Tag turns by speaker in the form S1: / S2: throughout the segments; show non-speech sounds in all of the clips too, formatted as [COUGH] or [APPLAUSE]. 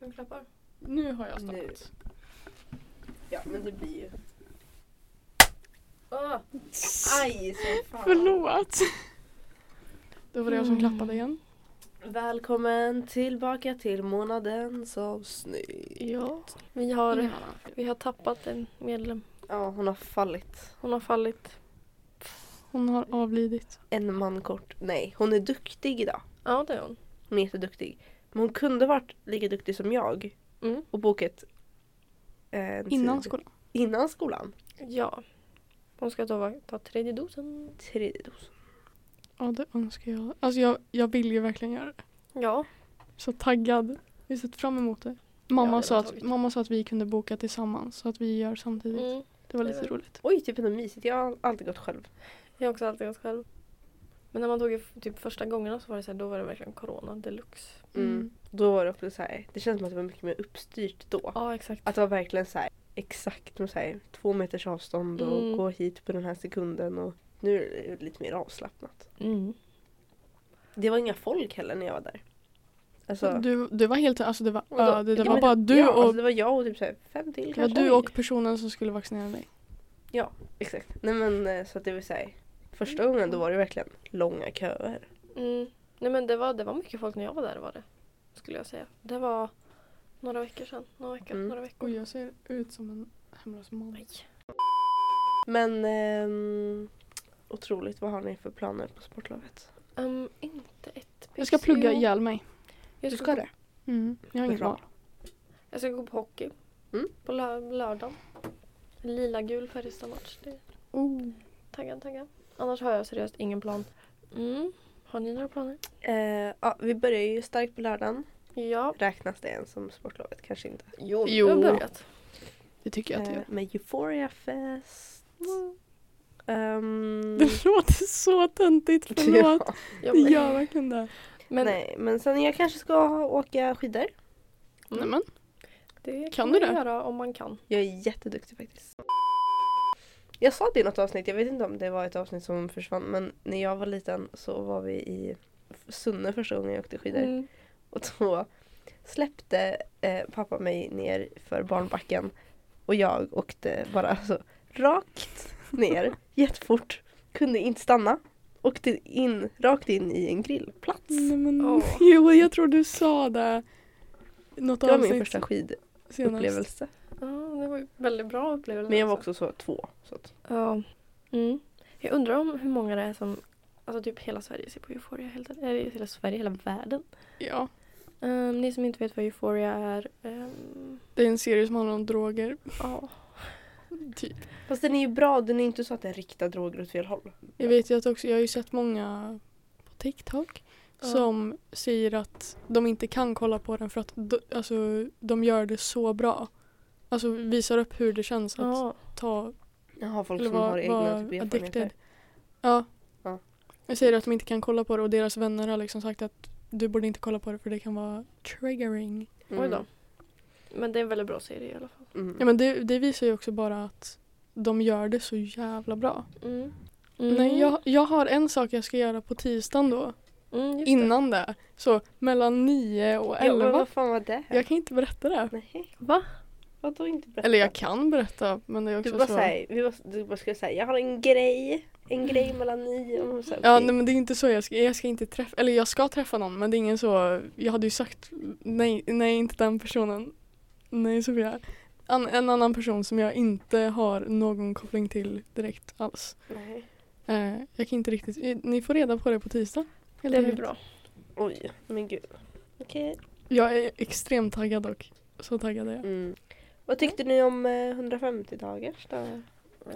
S1: Vem klappar?
S2: Nu har jag
S1: Nu.
S2: stoppat.
S1: Ja, men det blir ju... Åh! Aj, som fan.
S2: Förlåt. Då var det jag som
S3: Mm.
S2: klappade igen.
S1: Välkommen tillbaka till månadens avsnitt.
S3: Ja, vi har,
S2: Ingen annan.
S3: vi har tappat en medlem.
S1: Ja, hon har fallit.
S3: Hon har fallit.
S2: Hon har avlidit.
S1: En man kort. Nej, hon är duktig idag.
S3: Ja, det är hon.
S1: Hon är jätteduktig. Men hon kunde varit lika duktig som jag
S3: Mm.
S1: och bokat en
S2: Innan
S1: tid
S2: skolan.
S1: innan skolan.
S3: Ja. Hon ska ta, ta tredje dosen.
S1: Tredje dosen.
S2: Ja, det önskar jag. Alltså jag, jag vill ju verkligen göra det.
S3: Ja.
S2: Så taggad. Vi har sett fram emot det. Mamma,
S3: redan
S2: sa att,
S3: tagit.
S2: mamma sa att vi kunde boka tillsammans så att vi gör samtidigt.
S3: Mm.
S2: Det var
S3: det
S2: lite
S3: var-
S2: roligt.
S1: Oj, typ ändå mysigt. Jag har alltid gått själv.
S3: Jag har också alltid gått själv. Men när man tog det typ första gångerna så var det så här, då var det verkligen corona deluxe.
S1: Mm. Då var det också så här, det känns som att det var mycket mer uppstyrt då.
S3: Ja, exakt.
S1: Att det var verkligen så här, exakt med så här, två meters avstånd och
S3: Mm.
S1: gå hit på den här sekunden. Och nu är det ju lite mer avslappnat.
S3: Mm.
S1: Det var inga folk heller när jag var där. Alltså,
S2: Du, du var helt, alltså det var
S1: och då-
S2: öde. Det
S1: ja,
S2: var
S1: men-
S2: bara du
S1: ja,
S2: och,
S1: Alltså, det var jag och typ så här, fem till
S2: det var
S1: kanske.
S2: du
S1: Oj.
S2: och personen som skulle vaccinera dig.
S1: Exakt. Nej men eh, så att det vill säga. Första gången då var det verkligen långa köer.
S3: Mm. Nej men det var, det var mycket folk när jag var där var det. Skulle jag säga. Det var några veckor sedan. Några veckor.
S1: Mm.
S3: Några veckor.
S2: Och jag ser ut som en hemlös man.
S3: Nej.
S1: Men ehm, otroligt. Vad har ni för planer på sportlovet?
S3: Ehm, inte ett
S2: Jag ska
S3: piss.
S2: plugga
S3: Jo,
S2: ihjäl mig.
S3: Jag
S1: Du
S3: ska,
S1: ska det?
S2: Mm. Jag har inget
S1: Bra.
S2: val.
S3: Jag ska gå på hockey.
S1: Mm.
S3: På lö- lördagen. Lila-gul Färjestad-match. Det är
S2: Oh.
S3: Taggad, taggad. Annars har jag seriöst ingen plan. Mm. Har ni några planer?
S1: Eh, ja, vi börjar ju starkt på lördagen.
S3: Ja.
S1: Räknas det ens som sportlovet? Kanske inte.
S3: Jo,
S2: Jo.
S3: jag har börjat.
S2: Det tycker jag att jag
S1: Eh,
S2: gör.
S1: med Euphoria Fest.
S3: Mm. [LAUGHS]
S1: Ehm,
S2: [LAUGHS] Det låter så
S1: [LAUGHS]
S2: töntigt, förlåt.
S1: ja.
S3: Ja,
S2: Det
S3: men,
S2: gör verkligen det.
S3: men,
S1: Nej, men sen jag kanske ska åka skidor.
S2: Nej men,
S3: det kan,
S2: Kan
S3: man
S2: du det?
S3: göra om man kan.
S1: Jag är jätteduktig faktiskt. Jag sa det i något avsnitt, jag vet inte om det var ett avsnitt som försvann men när jag var liten så var vi i Sunne första gången jag åkte skidor.
S3: Mm.
S1: Och då släppte eh, pappa mig ner för barnbacken och jag åkte bara så rakt
S2: [LAUGHS]
S1: ner jättefort. Kunde inte stanna. Åkte in, rakt in i en grillplats.
S2: nej, men
S3: Åh.
S2: [LAUGHS] jo jag tror du sa det. Något
S1: Det var
S2: avsnitt
S1: min första
S2: senast.
S1: skidupplevelse.
S3: Ja, det var ju väldigt bra upplevelse. alltså.
S1: Men jag var också så två. Så att,
S3: Ja. Mm. Jag undrar om hur många det är som... Alltså typ hela Sverige ser på Euphoria. Helt, eller hela Sverige, hela världen.
S2: Ja,
S3: Ehm, ni som inte vet vad Euphoria är. ehm,
S2: det är en serie som handlar om droger.
S3: Ja.
S2: [LAUGHS] Typ.
S1: fast den är ju bra, den är inte så att den riktar droger åt fel håll.
S2: Jag vet ju att också, jag har ju sett många på TikTok
S3: Ja.
S2: som säger att de inte kan kolla på den för att de, alltså, de gör det så bra. Alltså visar upp hur det känns att
S3: Ja.
S2: ta
S1: Jaha, folk
S2: Eller
S1: som
S2: var,
S1: har egna
S2: var
S1: typ
S2: addicted.
S1: erfarenheter.
S2: Ja.
S1: Ja.
S2: Jag säger att de inte kan kolla på det och deras vänner har liksom sagt att du borde inte kolla på det för det kan vara triggering.
S3: Oj då. Men det är en väldigt bra serie i alla fall.
S1: Mm.
S2: Ja men det, det visar ju också bara att de gör det så jävla bra.
S3: Mm. Mm.
S2: Nej, jag, jag har en sak jag ska göra på tisdagen då.
S3: Mm, just det.
S2: Innan det. Så mellan 9 och
S1: Ja, men
S2: 11.
S1: vad fan var det?
S2: jag kan inte berätta det.
S1: Nej,
S3: Va?
S1: vadå inte berätta?
S2: Eller jag kan berätta men det är också
S1: Du bara
S2: så.
S1: såhär, vi bara, du bara skulle säga jag har en grej, en grej mellan nio och så här,
S2: Ja
S1: okej.
S2: nej, men det är inte så jag ska, jag ska inte träffa, eller jag ska träffa någon men det är ingen så, jag hade ju sagt nej, nej inte den personen. Nej Sofia. An, en annan person som jag inte har någon koppling till direkt alls.
S1: Nej.
S2: Eh, jag kan inte riktigt, ni får reda på det på tisdag. helt
S3: Det blir
S2: enkelt.
S3: bra.
S1: Oj, men gud. Okej.
S2: Jag är extremt taggad dock. Så taggad är jag.
S1: Mm. Vad tyckte ni om eh, 150 dagars då?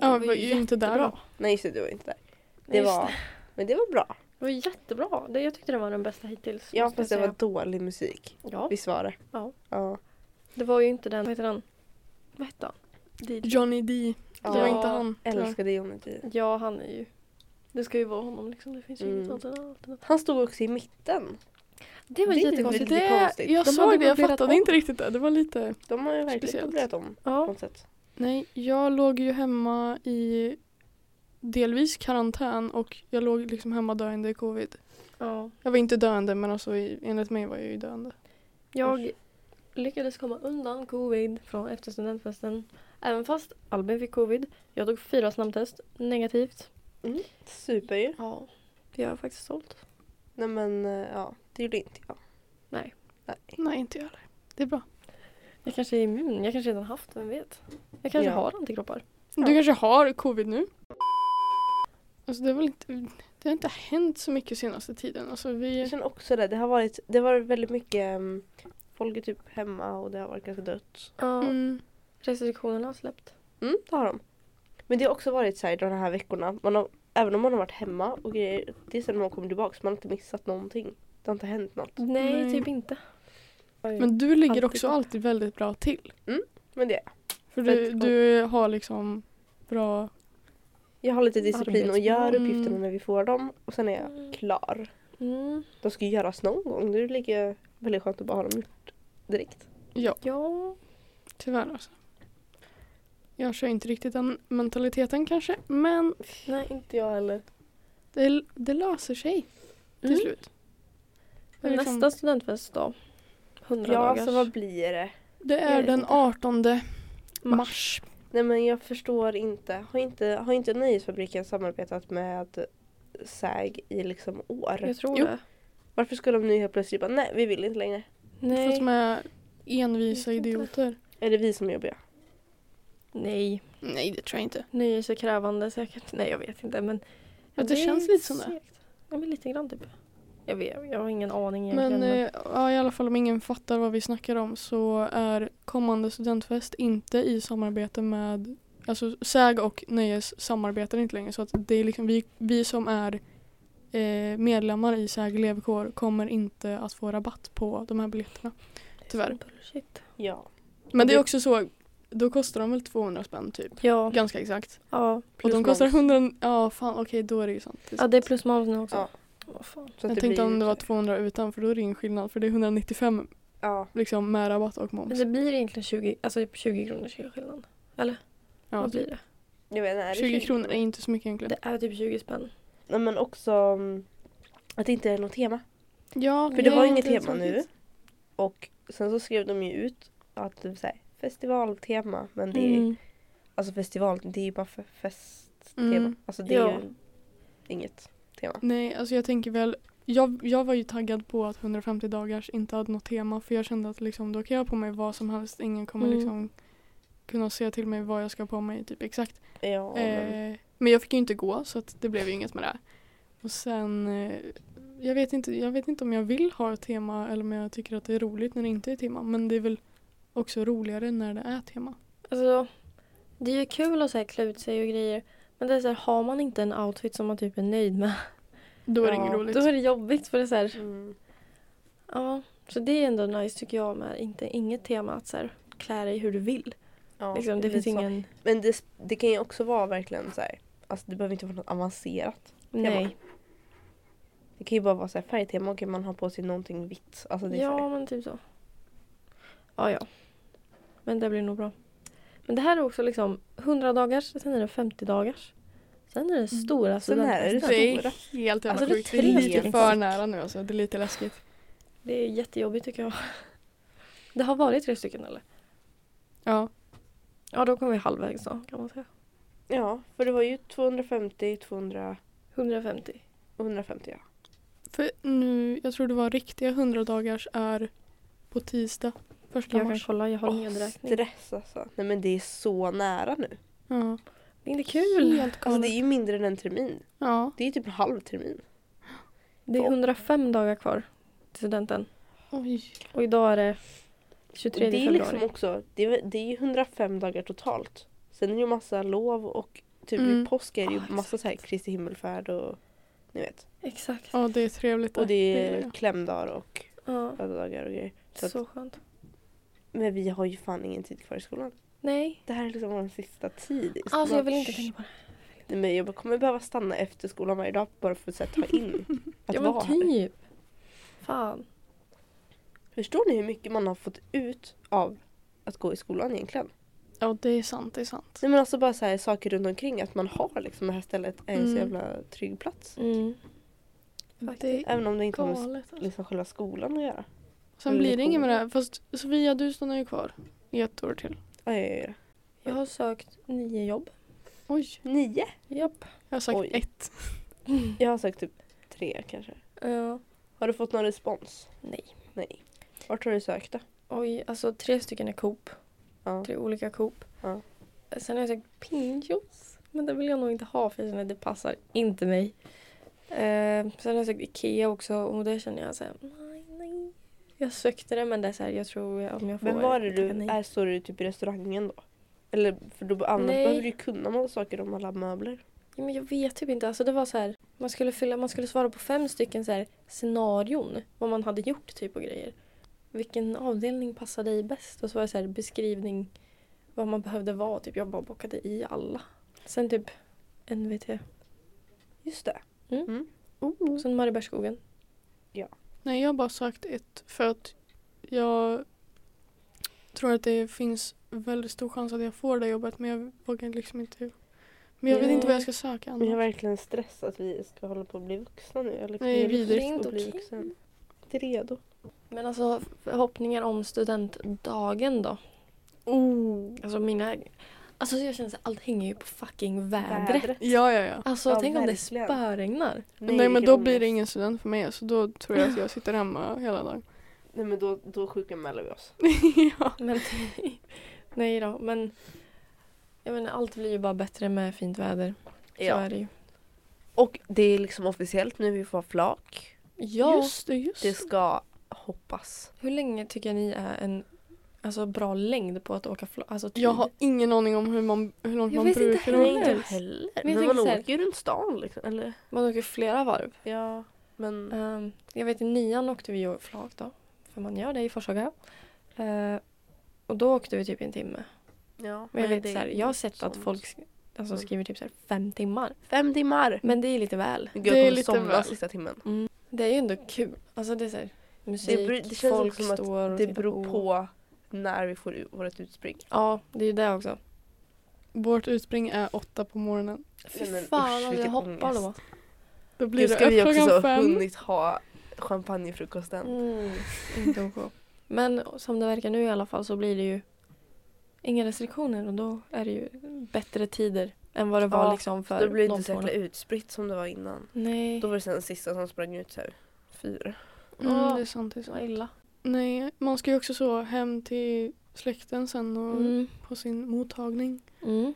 S2: Ja, var ju inte där
S3: jättebra.
S2: då.
S1: Nej just det, du var inte där.
S3: Nej,
S1: Det
S3: just
S1: var,
S3: Det.
S1: Men det var bra.
S3: det var jättebra. Det, jag tyckte det var den bästa hittills.
S1: Ja
S3: måste
S1: fast det
S3: jag
S1: var dålig musik.
S3: säga. Ja,
S1: Visst var det?
S3: Ja.
S1: ja.
S3: det var ju inte den... Vad heter den? Vad hette han?
S2: Johnny D. Det var
S3: Ja.
S2: inte han. tyvärr.
S1: Älskade Johnny D.
S3: Ja, han är ju... Det ska ju vara honom liksom. Det finns ju
S1: Mm.
S3: inget alternativ.
S1: Han stod också i mitten.
S3: Det var
S1: Det är ju
S3: jättekonstigt.
S1: väldigt-
S3: Det...
S2: Det,
S1: konstigt.
S2: jag
S3: De
S2: såg
S3: hade
S2: det, jag
S3: möblerat
S2: fattade
S3: om.
S2: inte riktigt det. Det var lite
S1: De har ju verkligen
S2: Speciellt.
S1: dubblat om på
S3: Ja.
S1: något sätt.
S2: Nej, jag låg ju hemma i delvis karantän och jag låg liksom hemma döende i covid.
S3: ja.
S2: Jag var inte döende men alltså i- enligt mig var jag ju döende.
S3: Jag lyckades komma undan covid från efter studentfesten. Även fast Albin fick covid. Jag tog fyra snabbtest, negativt.
S1: Super ju.
S3: Ja, det är jag faktiskt stolt.
S1: Nej men eh, ja, det gjorde inte jag.
S3: Nej.
S1: Nej.
S2: Nej, inte jag heller. Det är bra.
S3: Jag kanske är immun, jag kanske redan haft, vem vet? Jag kanske
S1: Ja.
S3: har antikroppar.
S2: Du kanske har covid nu? Alltså det, är väl inte, det har inte hänt så mycket senaste tiden. Alltså
S1: Jag
S2: vi,
S1: känner också det. Det har varit, det har varit väldigt mycket ehm, Folk är typ hemma och det har varit ganska dött.
S3: Ja,
S2: mm,
S3: restriktionerna har släppt.
S1: Mm, det har de. Men det har också varit så här de här veckorna. Man har, även om man har varit hemma och grejer. Det är sen man kommer tillbaka. Man har inte missat någonting. Det har inte hänt något.
S3: Nej,
S2: Nej.
S3: typ inte.
S2: men du ligger
S3: Alltid
S2: också
S3: bra.
S2: alltid väldigt bra till.
S1: Men det,
S2: För
S1: För
S2: du,
S1: att-
S2: du har liksom bra...
S1: jag har lite disciplin och gör
S2: Arbetsmoral.
S1: uppgifterna när vi får dem. Och sen är jag klar.
S3: Mm.
S1: De ska ju göras någon gång. Det är lika väldigt skönt att bara ha dem gjort direkt.
S2: Ja,
S3: Ja,
S2: tyvärr alltså. Jag kör inte riktigt den mentaliteten kanske. Men
S3: nej inte jag heller.
S2: det, det löser sig till
S3: Mm.
S2: slut.
S3: Men
S2: Liksom-
S3: nästa studentfest då? 100
S1: Ja,
S3: dagars.
S1: så vad blir det?
S2: Det
S3: Jag
S2: är
S3: vet
S2: den
S3: eh, inte.
S2: 18 mars.
S1: Nej men jag förstår inte. Har inte, har inte Nöjesfabriken samarbetat med SÄG i liksom år?
S3: Jag tror
S2: Jo.
S3: det.
S1: Varför ska de nu helt plötsligt bara nej vi vill inte längre.
S2: För att
S3: Nej.
S2: de är envisa
S3: Jag vet inte.
S2: idioter.
S1: Är det vi som är jobbiga?
S3: Nej,
S2: Nej, det tror jag inte.
S3: nej är så krävande säkert. Nej, jag vet inte. Men
S2: Ja, det känns
S3: är
S2: lite som det.
S3: segt. Ja, men lite grann typ. Jag, vet, jag har ingen aning egentligen.
S2: Men eh, ja, i alla fall om ingen fattar vad vi snackar om så är kommande studentfest inte i samarbete med Alltså SÄG och Nöjes samarbetar inte längre så att det är liksom vi, vi som är eh, medlemmar i SÄG elevkår kommer inte att få rabatt på de här biljetterna. tyvärr.
S3: Bullshit.
S1: Ja.
S2: Men det är
S1: Det-
S2: också så, då kostar de väl 200 spänn typ.
S3: Ja,
S2: Ganska exakt.
S3: ja.
S2: och
S1: Plus
S2: de kostar
S1: moms.
S2: 100, ja fan okej då är det ju sant. Det är
S3: ja,
S2: sant.
S3: det är plus moms nu också.
S1: Ja.
S3: Vad fan.
S1: Så att
S2: Jag tänkte
S1: blir
S2: om det var
S1: så
S2: 200 utan för då är det ingen skillnad för det är 195
S1: här- Ja.
S2: liksom med rabatt och
S3: Men
S2: moms.
S3: det blir egentligen 20, alltså typ 20 kronors skillnad.
S2: Ja,
S3: vad
S2: typ.
S3: blir det?
S1: Jag vet, nej,
S2: 20 kronor är inte så mycket egentligen.
S3: Det är typ 20
S2: Mm.
S3: spänn.
S1: Nej men också mm, att det inte är något tema.
S2: Ja,
S1: För det var inget tema nu. Och sen så skrev de ju ut att det är så här, festivaltema men det är
S3: Mm.
S1: Alltså festival, det är ju bara för festtema.
S2: Mm.
S1: Alltså det är
S3: Ja.
S1: ju inget tema.
S2: Nej, alltså jag tänker väl. Jag, jag var ju taggad på att 150 dagars inte hade något tema för jag kände att liksom, då kan jag ha på mig vad som helst. Ingen kommer
S3: Mm.
S2: liksom kunna säga till mig vad jag ska ha på mig typ exakt.
S1: Ja, men,
S2: eh, men jag fick ju inte gå så att det blev ju inget med det. Och sen eh, jag vet, inte, jag vet inte om jag vill ha ett tema eller om jag tycker att det är roligt när det inte är tema. Men det är väl också roligare när det är tema.
S3: Alltså, det är ju kul att så här, klä ut sig och grejer. Men det är så här, har man inte en outfit som man typ är nöjd med.
S2: Då är
S3: [LAUGHS]
S2: det
S1: Ja,
S2: inget roligt.
S3: Då är det jobbigt för det är så här.
S1: mm.
S3: Ja, så det är ändå nice tycker jag med inte, inget tema att så här, klä dig hur du vill.
S1: ja, det
S3: liksom, det
S1: är
S3: finns
S1: lite så.
S3: ingen...
S1: Men det, det kan ju också vara verkligen så här. Alltså det behöver inte vara något avancerat.
S3: Nej.
S1: Det kan ju bara vara så här färgtema och kan man ha på sig någonting vitt. Alltså det är så
S3: Ja,
S1: här,
S3: men typ så. Ja, ja. Men det blir nog bra. Men det här är också liksom 100 dagars, sen är det 50 dagars. Sen är det stora
S1: Mm. Sen är det
S3: studentfesten.
S2: Det
S1: stora.
S2: är helt jävla
S3: Alltså, det är
S2: sjukt. Det är lite
S1: trevligt.
S2: för nära nu alltså. Det är lite läskigt.
S3: Det är jättejobbigt tycker jag. Det har varit tre stycken eller?
S2: Ja.
S3: Ja, då kommer vi halvvägs då kan man säga.
S1: ja, för det var ju 250, 200,
S3: 150.
S1: 150 ja.
S2: För nu, jag tror det var riktiga 100 dagars är på tisdag. Första
S3: Jag kan
S2: mars.
S3: kolla, jag har
S1: Åh,
S3: nedräkning.
S1: stress alltså. Nej men det är så nära nu.
S2: Ja.
S3: Det är inte kul.
S2: Helt
S1: Alltså det
S2: galet.
S1: är ju mindre än en termin.
S2: Ja.
S1: Det är ju typ en halv termin.
S3: Det är 105 dagar kvar till studenten.
S2: Oj.
S3: Och idag är det
S1: Och
S3: 23
S1: det är
S3: februari.
S1: liksom också, det är, det är ju 105 dagar totalt. Sen är det ju massa lov och typ
S2: Mm.
S1: vid påsk är det ju
S3: Ja,
S1: massa
S3: exakt.
S1: så här Kristi himmelfärd och ni vet.
S3: Exakt.
S2: Ja, det är trevligt.
S1: Och det
S2: gillar
S1: är
S2: jag.
S1: klämdagar och
S3: Ja,
S1: ödedagar och grejer. Så att,
S3: så skönt.
S1: men vi har ju fan ingen tid kvar i skolan.
S3: Nej.
S1: Det här är liksom vår sista tid i skolan.
S3: Alltså jag vill inte tänka på det.
S1: Nej, men jag kommer behöva stanna efter skolan varje dag bara för att så här, ta
S3: [LAUGHS]
S1: in att
S3: ja
S1: vara
S3: men
S1: här.
S3: typ. Fan.
S1: Förstår ni hur mycket man har fått ut av att gå i skolan egentligen?
S2: Ja, det är sant. Det är sant.
S1: Nej men alltså bara så här, saker runt omkring att man har liksom det här stället är en
S2: Mm.
S1: så jävla trygg plats.
S3: Mm.
S2: Det är
S1: Även om det inte har med
S2: galet. Alltså.
S1: liksom själva skolan att göra.
S2: Sen
S1: En
S2: blir det inget med det
S1: lektion.
S2: här. Fast Sofia, du stannar ju kvar i ett år till.
S1: Oj, oj, oj.
S3: Jag har sökt nio jobb.
S2: Oj,
S1: Nio?
S3: Japp.
S2: jag har sagt
S1: Oj.
S2: ett.
S1: Jag har sökt typ tre kanske.
S3: Ja.
S1: Har du fått någon respons?
S3: Eh, Nej.
S1: Nej. Vart har du sökt då?
S3: Oj, alltså tre stycken är Coop.
S1: Ja.
S3: Tre olika Coop.
S1: Ja.
S3: Sen har jag sökt Pinchos. Men det vill jag nog inte ha för jag känner att det passar inte mig. Eh, sen har jag sökt Ikea också och det känner jag såhär, nej, nej. Jag sökte det men det är såhär, jag tror om jag får
S1: Men var är
S3: tacka
S1: du?
S3: nej.
S1: Är, står du typ i restaurangen då? Eller för då annars
S3: Nej.
S1: behöver du ju kunna massa saker om alla möbler.
S3: Ja, men jag vet typ inte. Alltså det var så här, man skulle, fylla, man skulle svara på fem stycken så här, scenarion. Vad man hade gjort typ och grejer. Vilken avdelning passar dig bäst? Och så var det så här, beskrivning vad man behövde vara. Typ, jag bara bockade i alla. Sen typ NVT.
S1: Just det.
S3: Mm.
S1: Mm.
S3: Och sen Mariebergsskogen.
S2: Nej, jag har bara sagt ett. För att jag tror att det finns väldigt stor chans att jag får det jobbet. Men jag vågar liksom inte. Men jag vet
S1: Ja.
S2: inte vad jag ska söka
S1: Men jag är
S2: annars.
S1: verkligen stress att vi ska hålla på att bli vuxna nu. Eller
S2: Nej,
S1: kommer vi liksom
S2: vidrigt.
S1: att
S3: Det är inte
S1: bli
S3: okej.
S1: vuxen? Inte redo.
S3: Men alltså förhoppningar om studentdagen då?
S1: Oh.
S3: Alltså mina... Alltså jag känner att allt hänger ju på fucking vädret.
S2: Ja, ja, ja.
S3: Alltså
S1: Ja,
S3: tänk om det
S1: verkligen.
S3: spöregnar.
S2: Nej, men
S1: vilken
S2: då blir det
S1: ångest.
S2: ingen student för mig. Så då tror jag att jag sitter hemma hela dagen.
S1: Nej men då, då sjukanmäler vi oss.
S2: ja.
S3: Men, nej då, men jag menar, allt blir ju bara bättre med fint väder. Så är det ju.
S1: Och det är liksom officiellt nu vi får flak.
S3: Ja,
S2: Just det, just
S1: Det
S2: det.
S1: ska hoppas.
S3: hur länge tycker ni är en alltså, bra längd på att åka fl- alltså, tid?
S2: Jag har ingen aning om hur, man, hur långt
S3: Jag
S2: man
S3: vet inte
S2: brukar
S3: heller.
S1: Nej
S2: åka.
S1: inte heller.
S3: jag
S1: Men,
S3: tänker
S1: man
S3: så här-
S1: åker ju runt stan liksom. Eller?
S3: Man åker flera varv.
S1: Ja. Men
S3: Ehm, jag vet i nian åkte vi ju flak då, för man gör det i Forshaga. Ehm, och då åkte vi typ en timme.
S1: ja.
S3: Men jag,
S1: nej,
S3: vet,
S1: det
S3: så här,
S1: är
S3: jag har sett
S1: sånt.
S3: att folk sk- alltså,
S1: Mm.
S3: skriver typ så här, fem timmar.
S1: Fem timmar.
S3: Men det är lite väl.
S1: Gud,
S2: Det
S1: jag
S2: är
S1: kommer
S2: lite
S1: somna
S2: väl.
S1: sista timmen.
S3: Det är ju ändå kul. Alltså det är så här, musik,
S1: beror- Mm. det känns
S3: folk
S1: också som att
S3: står och
S1: Det
S3: tittar
S1: beror på när vi får u- vårt utspring.
S3: Ja, det är ju det också.
S2: Vårt utspring är åtta på morgonen.
S3: Fy
S1: Nej, men
S3: fan
S2: alltså,
S1: usch,
S3: vad jag
S1: vilken
S3: hoppar då.
S1: ångest.
S2: Då blir
S1: Nu
S2: det
S1: ska vi
S2: upp
S1: också
S2: klockan
S1: ha
S2: fem.
S1: hunnit ha champagnefrukosten.
S3: Mm, [LAUGHS] inte OK. Men som det verkar nu i alla fall så blir det ju inga restriktioner och då är det ju bättre tider än vad det var
S1: Ja,
S3: liksom för
S1: Då blir det
S3: de
S1: inte så jäkla
S3: tvåorna.
S1: utspritt som det var innan.
S3: Nej.
S1: Då var det sen den sista som sprang ut så här, fyra.
S2: Mm,
S3: Ja.
S2: det är sant, det är sant.
S3: Vad illa.
S2: Nej, man ska ju också så hem till släkten sen och
S3: Mm.
S2: på sin mottagning.
S3: Mm.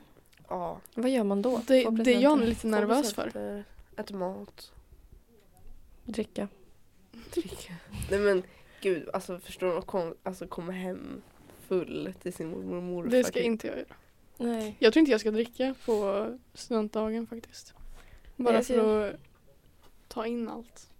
S1: Ja.
S3: Vad gör man då?
S2: Det,
S3: Får
S2: det är
S3: presenter?
S2: jag lite nervös för.
S1: Presenter, Äta mat.
S3: Dricka.
S1: Dricka. Nej men gud, alltså förstår du? att Kom, alltså komma hem full till sin mormor och morfar.
S2: Det ska
S1: typ.
S2: inte jag göra.
S3: Nej.
S2: Jag tror inte jag ska dricka på studentdagen faktiskt. Bara
S3: Jag
S2: för att ta in allt.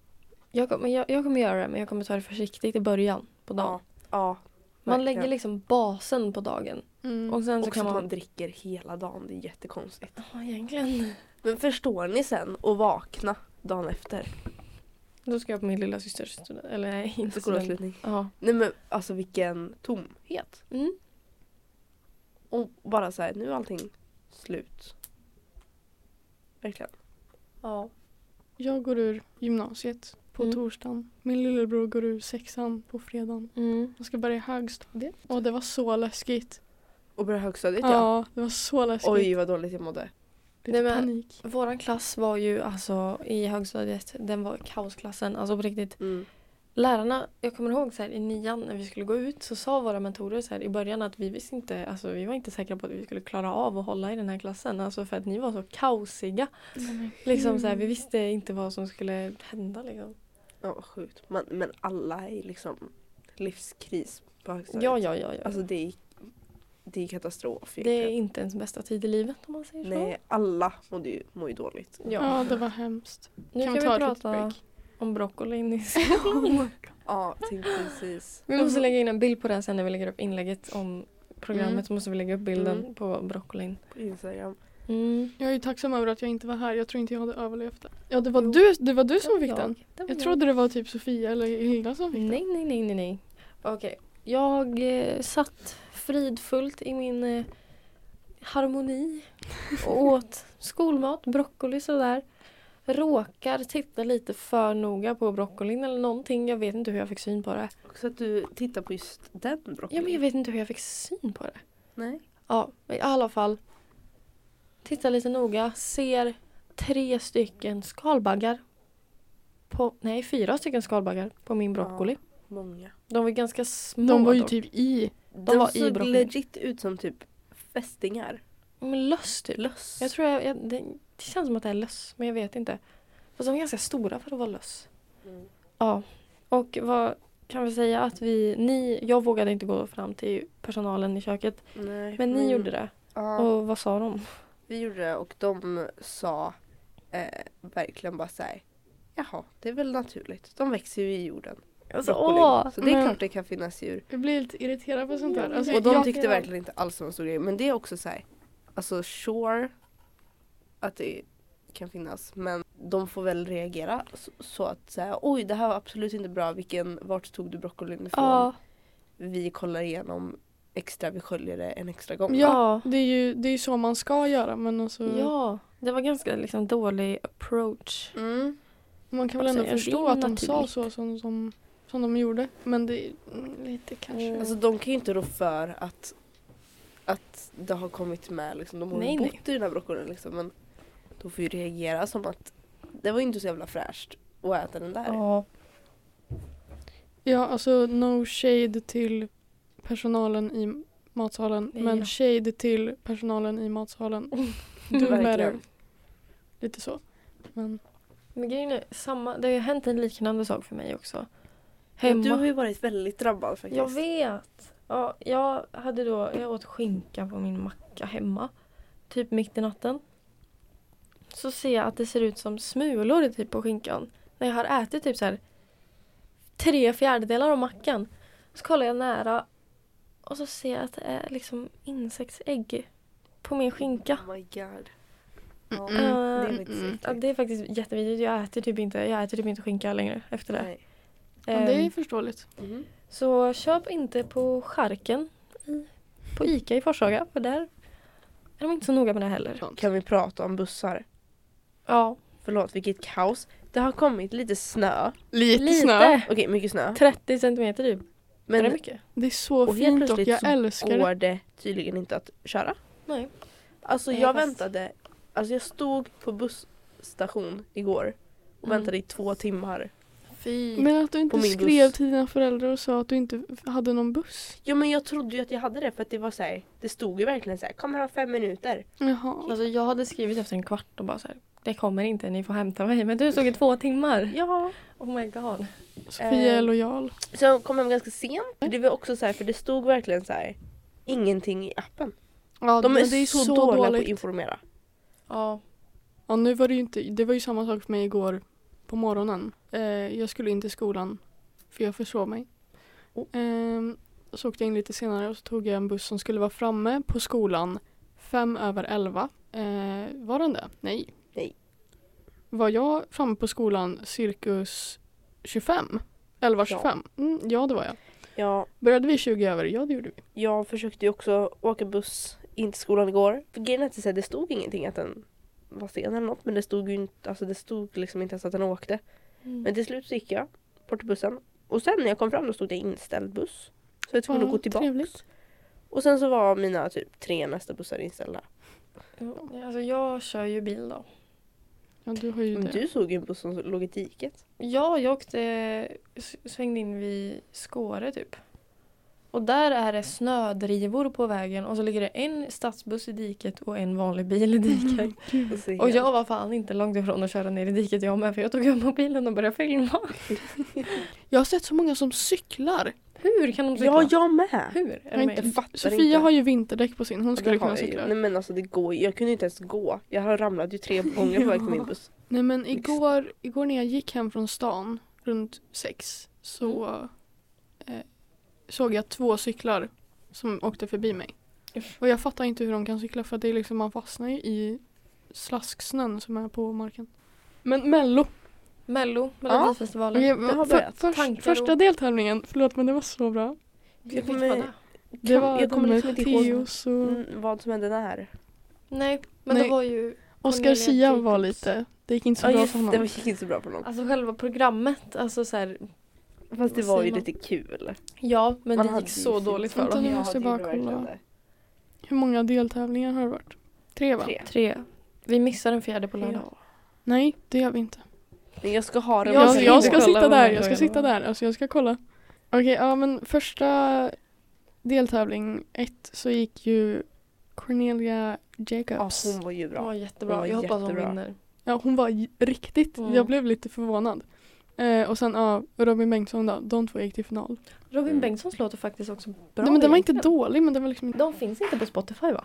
S3: Jag kommer, jag, jag kommer göra det men jag kommer ta det försiktigt i början på dagen.
S1: Ja. ja.
S3: man
S1: verkligen.
S3: lägger liksom basen på dagen.
S2: Mm.
S3: Och sen så
S1: Och
S3: kan
S1: att
S3: man...
S1: man dricker hela dagen, det är jättekonstigt.
S3: Ja, egentligen.
S1: Men förstår ni sen att vakna dagen efter?
S3: Då ska jag på min lilla systers student. Eller nej, inte student.
S1: Skolavslutning.
S3: Ja.
S1: Nej men alltså vilken tomhet.
S3: Mm.
S1: Och bara så här, nu är allting slut. Verkligen.
S3: Ja.
S2: Jag går ur gymnasiet på
S3: Mm.
S2: torsdagen. Min lillebror går ur sexan på fredagen.
S3: Mm.
S2: Jag ska börja i högstadiet. Och det var så läskigt.
S1: Och börja högstadiet ja.
S2: Ja, det var så läskigt.
S1: Oj vad dåligt jag mådde.
S2: Lite
S3: Nej, men-
S2: panik.
S3: Våran klass var ju alltså i högstadiet, den var kaosklassen. Alltså på riktigt.
S1: Mm.
S3: Lärarna, jag kommer ihåg så här, i nian när vi skulle gå ut så sa våra mentorer så här, i början att vi visste inte, alltså vi var inte säkra på att vi skulle klara av att hålla i den här klassen. Alltså för att ni var så kaosiga. Liksom så här,
S2: Mm.
S3: vi visste inte vad som skulle hända liksom.
S1: Ja vad sjukt. Man, men alla är liksom livskris på högstadiet.
S3: Ja, ja, ja. ja.
S1: Alltså det är, det är katastrof
S3: det är
S1: egentligen.
S3: inte ens bästa tid i livet om man säger så.
S1: Nej alla mår ju, mår ju dåligt.
S3: Ja.
S2: Ja, det var hemskt.
S3: Nu
S2: Kan
S3: kan,
S2: vi
S3: vi,
S2: ta ett litet
S3: prata
S2: break?
S3: om broccolin i
S1: Ja tänk precis.
S3: Vi måste lägga in en bild på det här sen när vi lägger upp inlägget om programmet
S2: Mm.
S3: så måste vi lägga upp bilden
S1: Mm.
S3: på broccolin.
S1: På Instagram.
S3: Mm.
S2: Jag är ju tacksam över att jag inte var här. Jag tror inte jag hade överlevt det. Ja, det var,
S3: Jo.
S2: du, det var du
S3: Det var
S2: som fick
S3: jag.
S2: den.
S3: Det var
S2: Jag trodde det var typ Sofia eller Hilda som fick
S3: Nej, nej, nej, nej, nej. Okej. Jag eh, satt fridfullt i min eh, [LAUGHS] harmoni och åt skolmat, broccoli sådär. råkar titta lite för noga på broccolin eller någonting. Jag vet inte hur jag fick syn på det.
S1: Också att du tittar på just den broccolin.
S3: Ja men jag vet inte hur jag fick syn på det.
S1: Nej.
S3: Ja, men i alla fall. Tittar lite noga, ser tre stycken skalbaggar. På, nej, fyra stycken skalbaggar på min broccoli.
S1: Många.
S3: De var ganska små.
S2: De var ju
S3: dock.
S2: typ i.
S1: De,
S3: var i
S1: såg
S3: broccolin.
S1: legit ut som typ fästingar.
S3: Men löss typ.
S1: Löss.
S3: Jag tror jag, jag, det, det känns som att det är löss, men jag vet inte. Fast de är ganska stora för att vara löss.
S1: Mm.
S3: Ja, och vad kan vi säga att vi, ni, jag vågade inte gå fram till personalen i köket.
S1: Nej,
S3: Men
S2: Mm.
S3: ni gjorde det.
S1: Ja,
S3: Och vad sa de?
S1: vi gjorde det och de sa eh, verkligen bara så här. Jaha, det är väl naturligt. De växer ju i jorden.
S3: Alltså,
S1: broccolin.
S3: åh,
S1: så det är
S2: men-
S1: klart det kan finnas djur.
S2: Jag blir lite irriterad på sånt där. Alltså,
S1: Och de
S2: jag-
S1: tyckte verkligen inte alls om en stor grej. Men det är också så här. Alltså sure att det kan finnas. Men de får väl reagera så, så att säga oj det här var absolut inte bra. Vilken, vart tog du broccolin ifrån?
S3: Ja,
S1: Vi kollar igenom extra, vi sköljer det en extra gång.
S3: ja.
S2: Det är ju det är ju så man ska göra men alltså,
S3: Ja, det var ganska liksom dålig approach.
S1: Mm.
S2: man kan väl
S3: Alltså,
S2: ändå
S3: jag
S2: förstå
S3: vet
S2: att de sa
S3: naturligt.
S2: så som, som, som de gjorde. Men det är mm, lite kanske.
S3: Mm.
S1: Alltså de kan ju inte rå för att, att det har kommit med liksom. De har
S3: Nej,
S1: ju
S3: nej.
S1: bott i den här broccolin liksom. Men de får ju reagera som att det var ju inte så jävla fräscht att äta den där.
S3: Ja.
S2: Ja, alltså no shade till personalen i matsalen.
S3: Nej,
S2: men
S3: ja. Oh.
S2: shade till personalen i matsalen. Do
S1: Verkligen.
S2: better. Lite så. Men
S3: Men grejen är samma, det har ju hänt en liknande sak för mig också.
S1: Du har
S3: Hemma.
S1: ju varit väldigt drabbad faktiskt.
S3: Jag vet. Ja, jag hade då, jag åt skinka på min macka hemma. Typ mitt i natten. Så ser jag att det ser ut som smulor typ på skinkan. När jag har ätit typ så här tre fjärdedelar av mackan. Så kollar jag nära och så ser jag att det är liksom insektsägg på min skinka.
S1: Oh my god.
S2: Mm.
S1: Ja, det är
S3: Eh,
S1: faktiskt
S2: mm.
S1: äckligt.
S3: Ja, det är faktiskt jättevidrigt. Jag äter typ inte, jag äter typ inte skinka längre efter det.
S1: Nej.
S2: ja, det är
S3: Ehm,
S2: förståeligt.
S1: Mhm.
S3: Så köp inte på Charken i, på Ica i Forshaga för där är de inte så noga med det heller.
S1: Kan vi prata om bussar?
S3: Ja,
S1: Förlåt, vilket kaos. Det har kommit lite snö.
S2: Lite,
S3: lite.
S2: snö.
S1: Okej, mycket snö.
S3: 30 centimeter typ. är det
S1: Men
S3: mycket?
S2: Det är så
S1: Och helt
S2: fint och
S1: plötsligt
S2: jag
S1: så
S2: älskar det.
S1: går det tydligen inte att köra.
S3: Nej.
S1: Alltså
S3: Nej,
S1: jag
S3: fast-
S1: väntade. Alltså jag stod på busstation igår och
S3: Mm.
S1: väntade i två timmar.
S3: Fy.
S2: Men att du inte
S1: På min
S2: skrev
S1: buss.
S2: till dina föräldrar och sa att du inte f- hade någon buss.
S1: Jo men jag trodde ju att jag hade det för att det var så här, det stod ju verkligen så här, kom här om fem minuter.
S2: Jaha.
S3: Alltså jag hade skrivit efter en kvart och bara så här. Det kommer inte, ni får hämta mig. Men du såg i två timmar.
S1: Ja.
S3: Oh my god.
S2: Sofia är
S1: Eh,
S2: lojal.
S1: Så jag kom hem ganska sent. Det var också så här, för det stod verkligen så här, ingenting i appen.
S2: Ja,
S1: De är,
S2: men det är
S1: så,
S2: så
S1: dåliga på
S2: dåligt.
S1: att informera.
S3: Ja.
S2: Ja, nu var det ju inte, det var ju samma sak för mig igår på morgonen. Eh, jag skulle in till skolan för jag försov mig.
S1: Oh.
S2: Eh, så åkte jag in lite senare och så tog jag en buss som skulle vara framme på skolan fem över elva. Eh, var den det? Nej.
S1: Nej.
S2: Var jag framme på skolan cirkus 25? 11.25? Ja. Mm, ja, det var jag.
S1: Ja,
S2: Började vi 20 över? Ja, det gjorde vi.
S1: jag försökte ju också åka buss in till skolan igår. För grejen är att det så här, det stod ingenting att den var sen eller något men det stod ju inte, alltså det stod liksom inte ens att den åkte.
S3: Mm.
S1: Men till slut så gick jag bort till bussen och sen när jag kom fram då stod det inställd buss. Så jag var tvungen
S2: Ja,
S1: att gå tillbaka.
S2: trevligt.
S1: Och sen så var mina typ tre nästa bussar inställda.
S3: Alltså jag kör ju bil då.
S2: Ja, du har ju
S1: Men
S2: det.
S1: du såg ju en buss som låg i diket.
S3: Ja, jag åkte, s- svängde in vid Skåre typ. Och där är det snödrivor på vägen och så ligger det en stadsbuss i diket och en vanlig bil i [LAUGHS] diket.
S1: Alltså,
S3: Och jag var fan inte långt ifrån att köra ner i diket jag med för jag tog upp mobilen och började filma.
S2: Jag har sett så många som cyklar.
S3: Hur kan de cykla?
S1: Ja, jag med!
S3: Hur? Är
S2: Jag
S3: det
S2: har
S3: möjligt?
S2: inte
S1: fattar
S2: Sofia
S1: inte.
S2: har ju vinterdäck på sin. Hon
S1: Det
S2: skulle
S1: har
S2: kunna
S1: jag ju.
S2: cykla.
S1: Nej men alltså det går ju- jag kunde inte ens gå. Jag har ramlat ju tre gånger på väg till
S2: [LAUGHS]
S1: min buss.
S2: Nej men
S1: Visst.
S2: igår, igår när jag gick hem från stan runt sex så
S1: Mm.
S2: eh, såg jag två cyklar som åkte förbi mig.
S3: Usch.
S2: Och jag fattar inte hur de kan cykla för det är liksom, man fastnar ju i slasksnön som är på marken. Men mello.
S3: Mello, Melodifestivalen.
S2: Okej,
S1: har
S2: för,
S1: börjat.
S2: först,
S3: Tankar
S2: första
S3: och-
S2: deltävlingen, förlåt men det var så bra.
S3: Jag
S1: kommer-
S3: kommer... inte vara där.
S2: Det var
S1: jag kommer
S2: de
S1: liksom
S2: med
S1: inte ihåg
S2: Teos och...
S1: Mm, vad som hände där.
S3: Nej, men
S2: Nej.
S3: det var ju
S2: Oscar
S3: Cornelia
S2: Sia var
S3: Jacobs.
S2: lite, det gick inte så
S1: Ja,
S2: bra
S1: just
S2: för
S1: det, det
S2: honom.
S1: gick inte så bra för någon.
S3: Alltså själva programmet, alltså så här,
S1: Fast det
S3: vad
S1: var ju
S3: säger man?
S1: lite kul.
S3: ja men
S1: Man
S3: det
S1: hade
S3: gick
S1: ju
S3: så
S1: fint.
S3: dåligt för
S2: Vänta
S3: dem.
S2: nu. måste jag bara kolla. Hur många deltävlingar har det varit? Tre va?
S1: Tre.
S3: Tre. Vi missar den fjärde på lördag.
S2: Nej, det gör vi inte.
S1: Men jag ska ha den.
S3: Jag-
S2: Jag,
S1: på
S3: ska
S2: jag
S1: video.
S2: ska
S3: kolla
S2: sitta
S3: vad
S2: där,
S3: den
S2: jag ska
S3: frågan
S2: sitta
S3: var.
S2: där. Alltså jag ska kolla. Okej, ja men första deltävling ett så gick ju Cornelia
S1: Ja,
S2: Jacobs.
S1: hon var ju
S3: Ja,
S1: bra.
S3: jättebra.
S1: Ja,
S3: jag hoppas
S1: jättebra.
S3: hon vinner.
S2: Ja, hon var j- riktigt,
S3: Mm.
S2: jag blev lite förvånad. Eh, och sen ja, Robin Bengtsson då, de två gick till final.
S3: Robin
S1: Mm.
S3: Bengtssons låt är faktiskt också bra.
S2: Nej, men den var inte
S3: egentligen.
S2: dålig men den var liksom inte,
S3: De finns inte på Spotify va?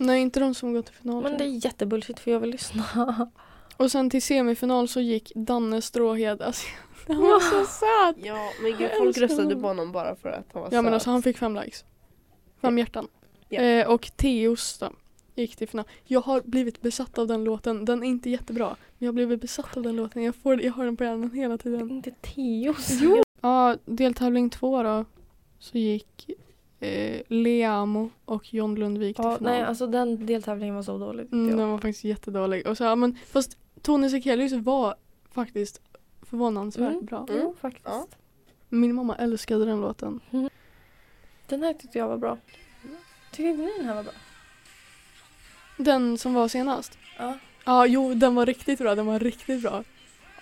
S2: nej inte de som gått till final.
S3: Men
S2: tror
S3: det
S2: jag.
S3: är jättebullshit för jag vill lyssna.
S2: Och sen till semifinal så gick Danne Stråhed, alltså [LAUGHS] han var så söt!
S1: Ja, men gud,
S2: Jag
S1: folk
S2: älskar
S1: röstade
S2: honom.
S1: på honom bara för att han var
S2: Ja men
S1: söt.
S2: alltså han fick fem likes. Fem hjärtan.
S1: Ja.
S2: Eh, och Teos då. Gick till final. Jag har blivit besatt av den låten. Den är inte jättebra. Men jag har blivit besatt av den låten. Jag, får, jag har den på hjärnan hela
S1: Mm.
S2: tiden.
S3: inte Teos.
S2: Jo! Ja, deltävling två då. Så gick eh, Leamo och John Lundvik till
S3: Ja,
S2: final.
S3: nej alltså den deltävlingen var så dålig. tyckte
S2: mm,
S3: jag.
S2: den var faktiskt jättedålig. Och så, ja, men, fast Tone Sekelius var faktiskt förvånansvärt
S3: Mm.
S2: bra.
S3: Jo, faktiskt.
S1: Ja.
S2: Min mamma älskade den låten.
S3: Den här tyckte jag var bra. Tyckte inte ni den här var bra?
S2: Den som var senast.
S3: Ja.
S2: Ja, jo, den var riktigt bra. Den var riktigt bra.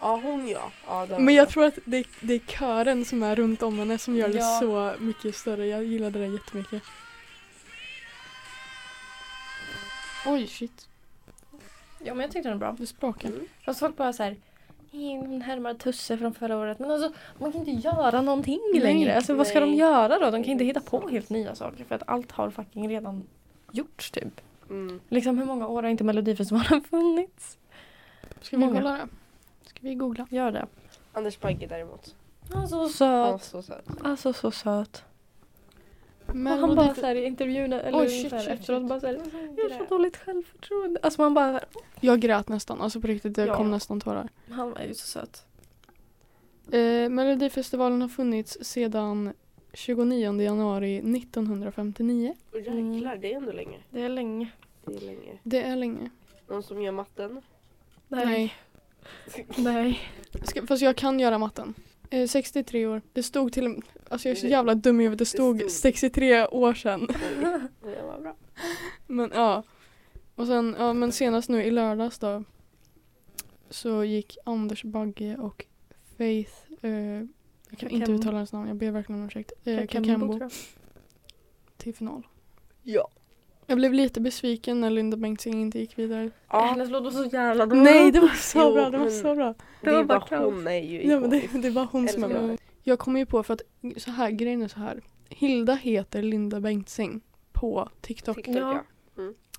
S1: Ja, hon ja. ja den var
S2: Men jag
S1: bra.
S2: tror att det, det är kören som är runt om henne som gör det
S3: Ja.
S2: så mycket större. Jag gillade det jättemycket. Oj, shit.
S3: Ja men jag tyckte den var bra.
S2: Det sprakar.
S3: Fast folk bara såhär hon härmar Tusse från förra året. Men alltså man kan inte göra någonting
S2: Nej.
S3: längre. Alltså vad ska de
S1: Nej.
S3: göra då? De kan inte hitta på helt nya saker för att allt har fucking redan gjorts typ.
S1: Mm.
S3: Liksom hur många år har inte Melodifestivalen funnits?
S2: Ska vi
S3: Många.
S2: kolla det? Ska vi googla?
S3: Gör det.
S1: Anders Bagge däremot.
S3: Han så
S1: Han var
S3: söt.
S1: så söt.
S3: Alltså så söt.
S2: Men
S3: och han bara såhär i intervjuerna eller
S2: Oj, shit,
S3: så här,
S2: shit,
S3: efteråt
S2: shit.
S3: bara såhär
S1: Mm.
S3: Jag har så dåligt självförtroende. Alltså man bara
S2: Jag grät nästan. Alltså på riktigt, det
S3: Ja.
S2: kom nästan tårar.
S3: Han var ju så söt.
S2: Eh, Melodifestivalen har funnits sedan 29 januari 1959.
S1: Och jäklar, det är ändå länge.
S3: Det är länge.
S1: Det är länge.
S2: Det är länge.
S1: Någon som
S2: [LAUGHS]
S1: gör matten?
S3: Nej. Nej.
S2: Ska, fast jag kan göra matten. Eh, 63 år. Det stod till och med- Alltså jag är så
S1: Det-
S2: jävla dum i huvudet. Det stod
S1: stod.
S2: 63 år sedan. [LAUGHS]
S1: Oj, det var bra.
S2: Men ja. Och sen, ja men senast nu i lördags då. Så gick Anders Bagge och Faith. Eh, jag kan inte
S3: Kakembo.
S2: uttala hennes namn. Jag ber verkligen om ursäkt. Eh,
S3: Kakembo
S2: Kakembo
S3: tror jag.
S2: till final.
S1: Ja.
S2: Jag blev lite besviken när Linda Bengtzing inte gick vidare.
S1: ja
S3: Hennes låt var Äh, så jävla dålig.
S2: Nej det var så
S1: Jo,
S2: bra, det var
S1: men-
S2: så bra.
S1: det,
S3: var
S1: är
S3: bara
S1: bara
S3: kaos.
S1: hon är ju
S2: Ja, men det,
S1: ikonisk.
S2: det var hon som är
S1: Älskar
S2: bra.
S1: henne.
S2: Jag kom ju på för att så här, grejen är så här. Hilda heter Linda Bengtzing på TikTok.
S1: TikTok, ja.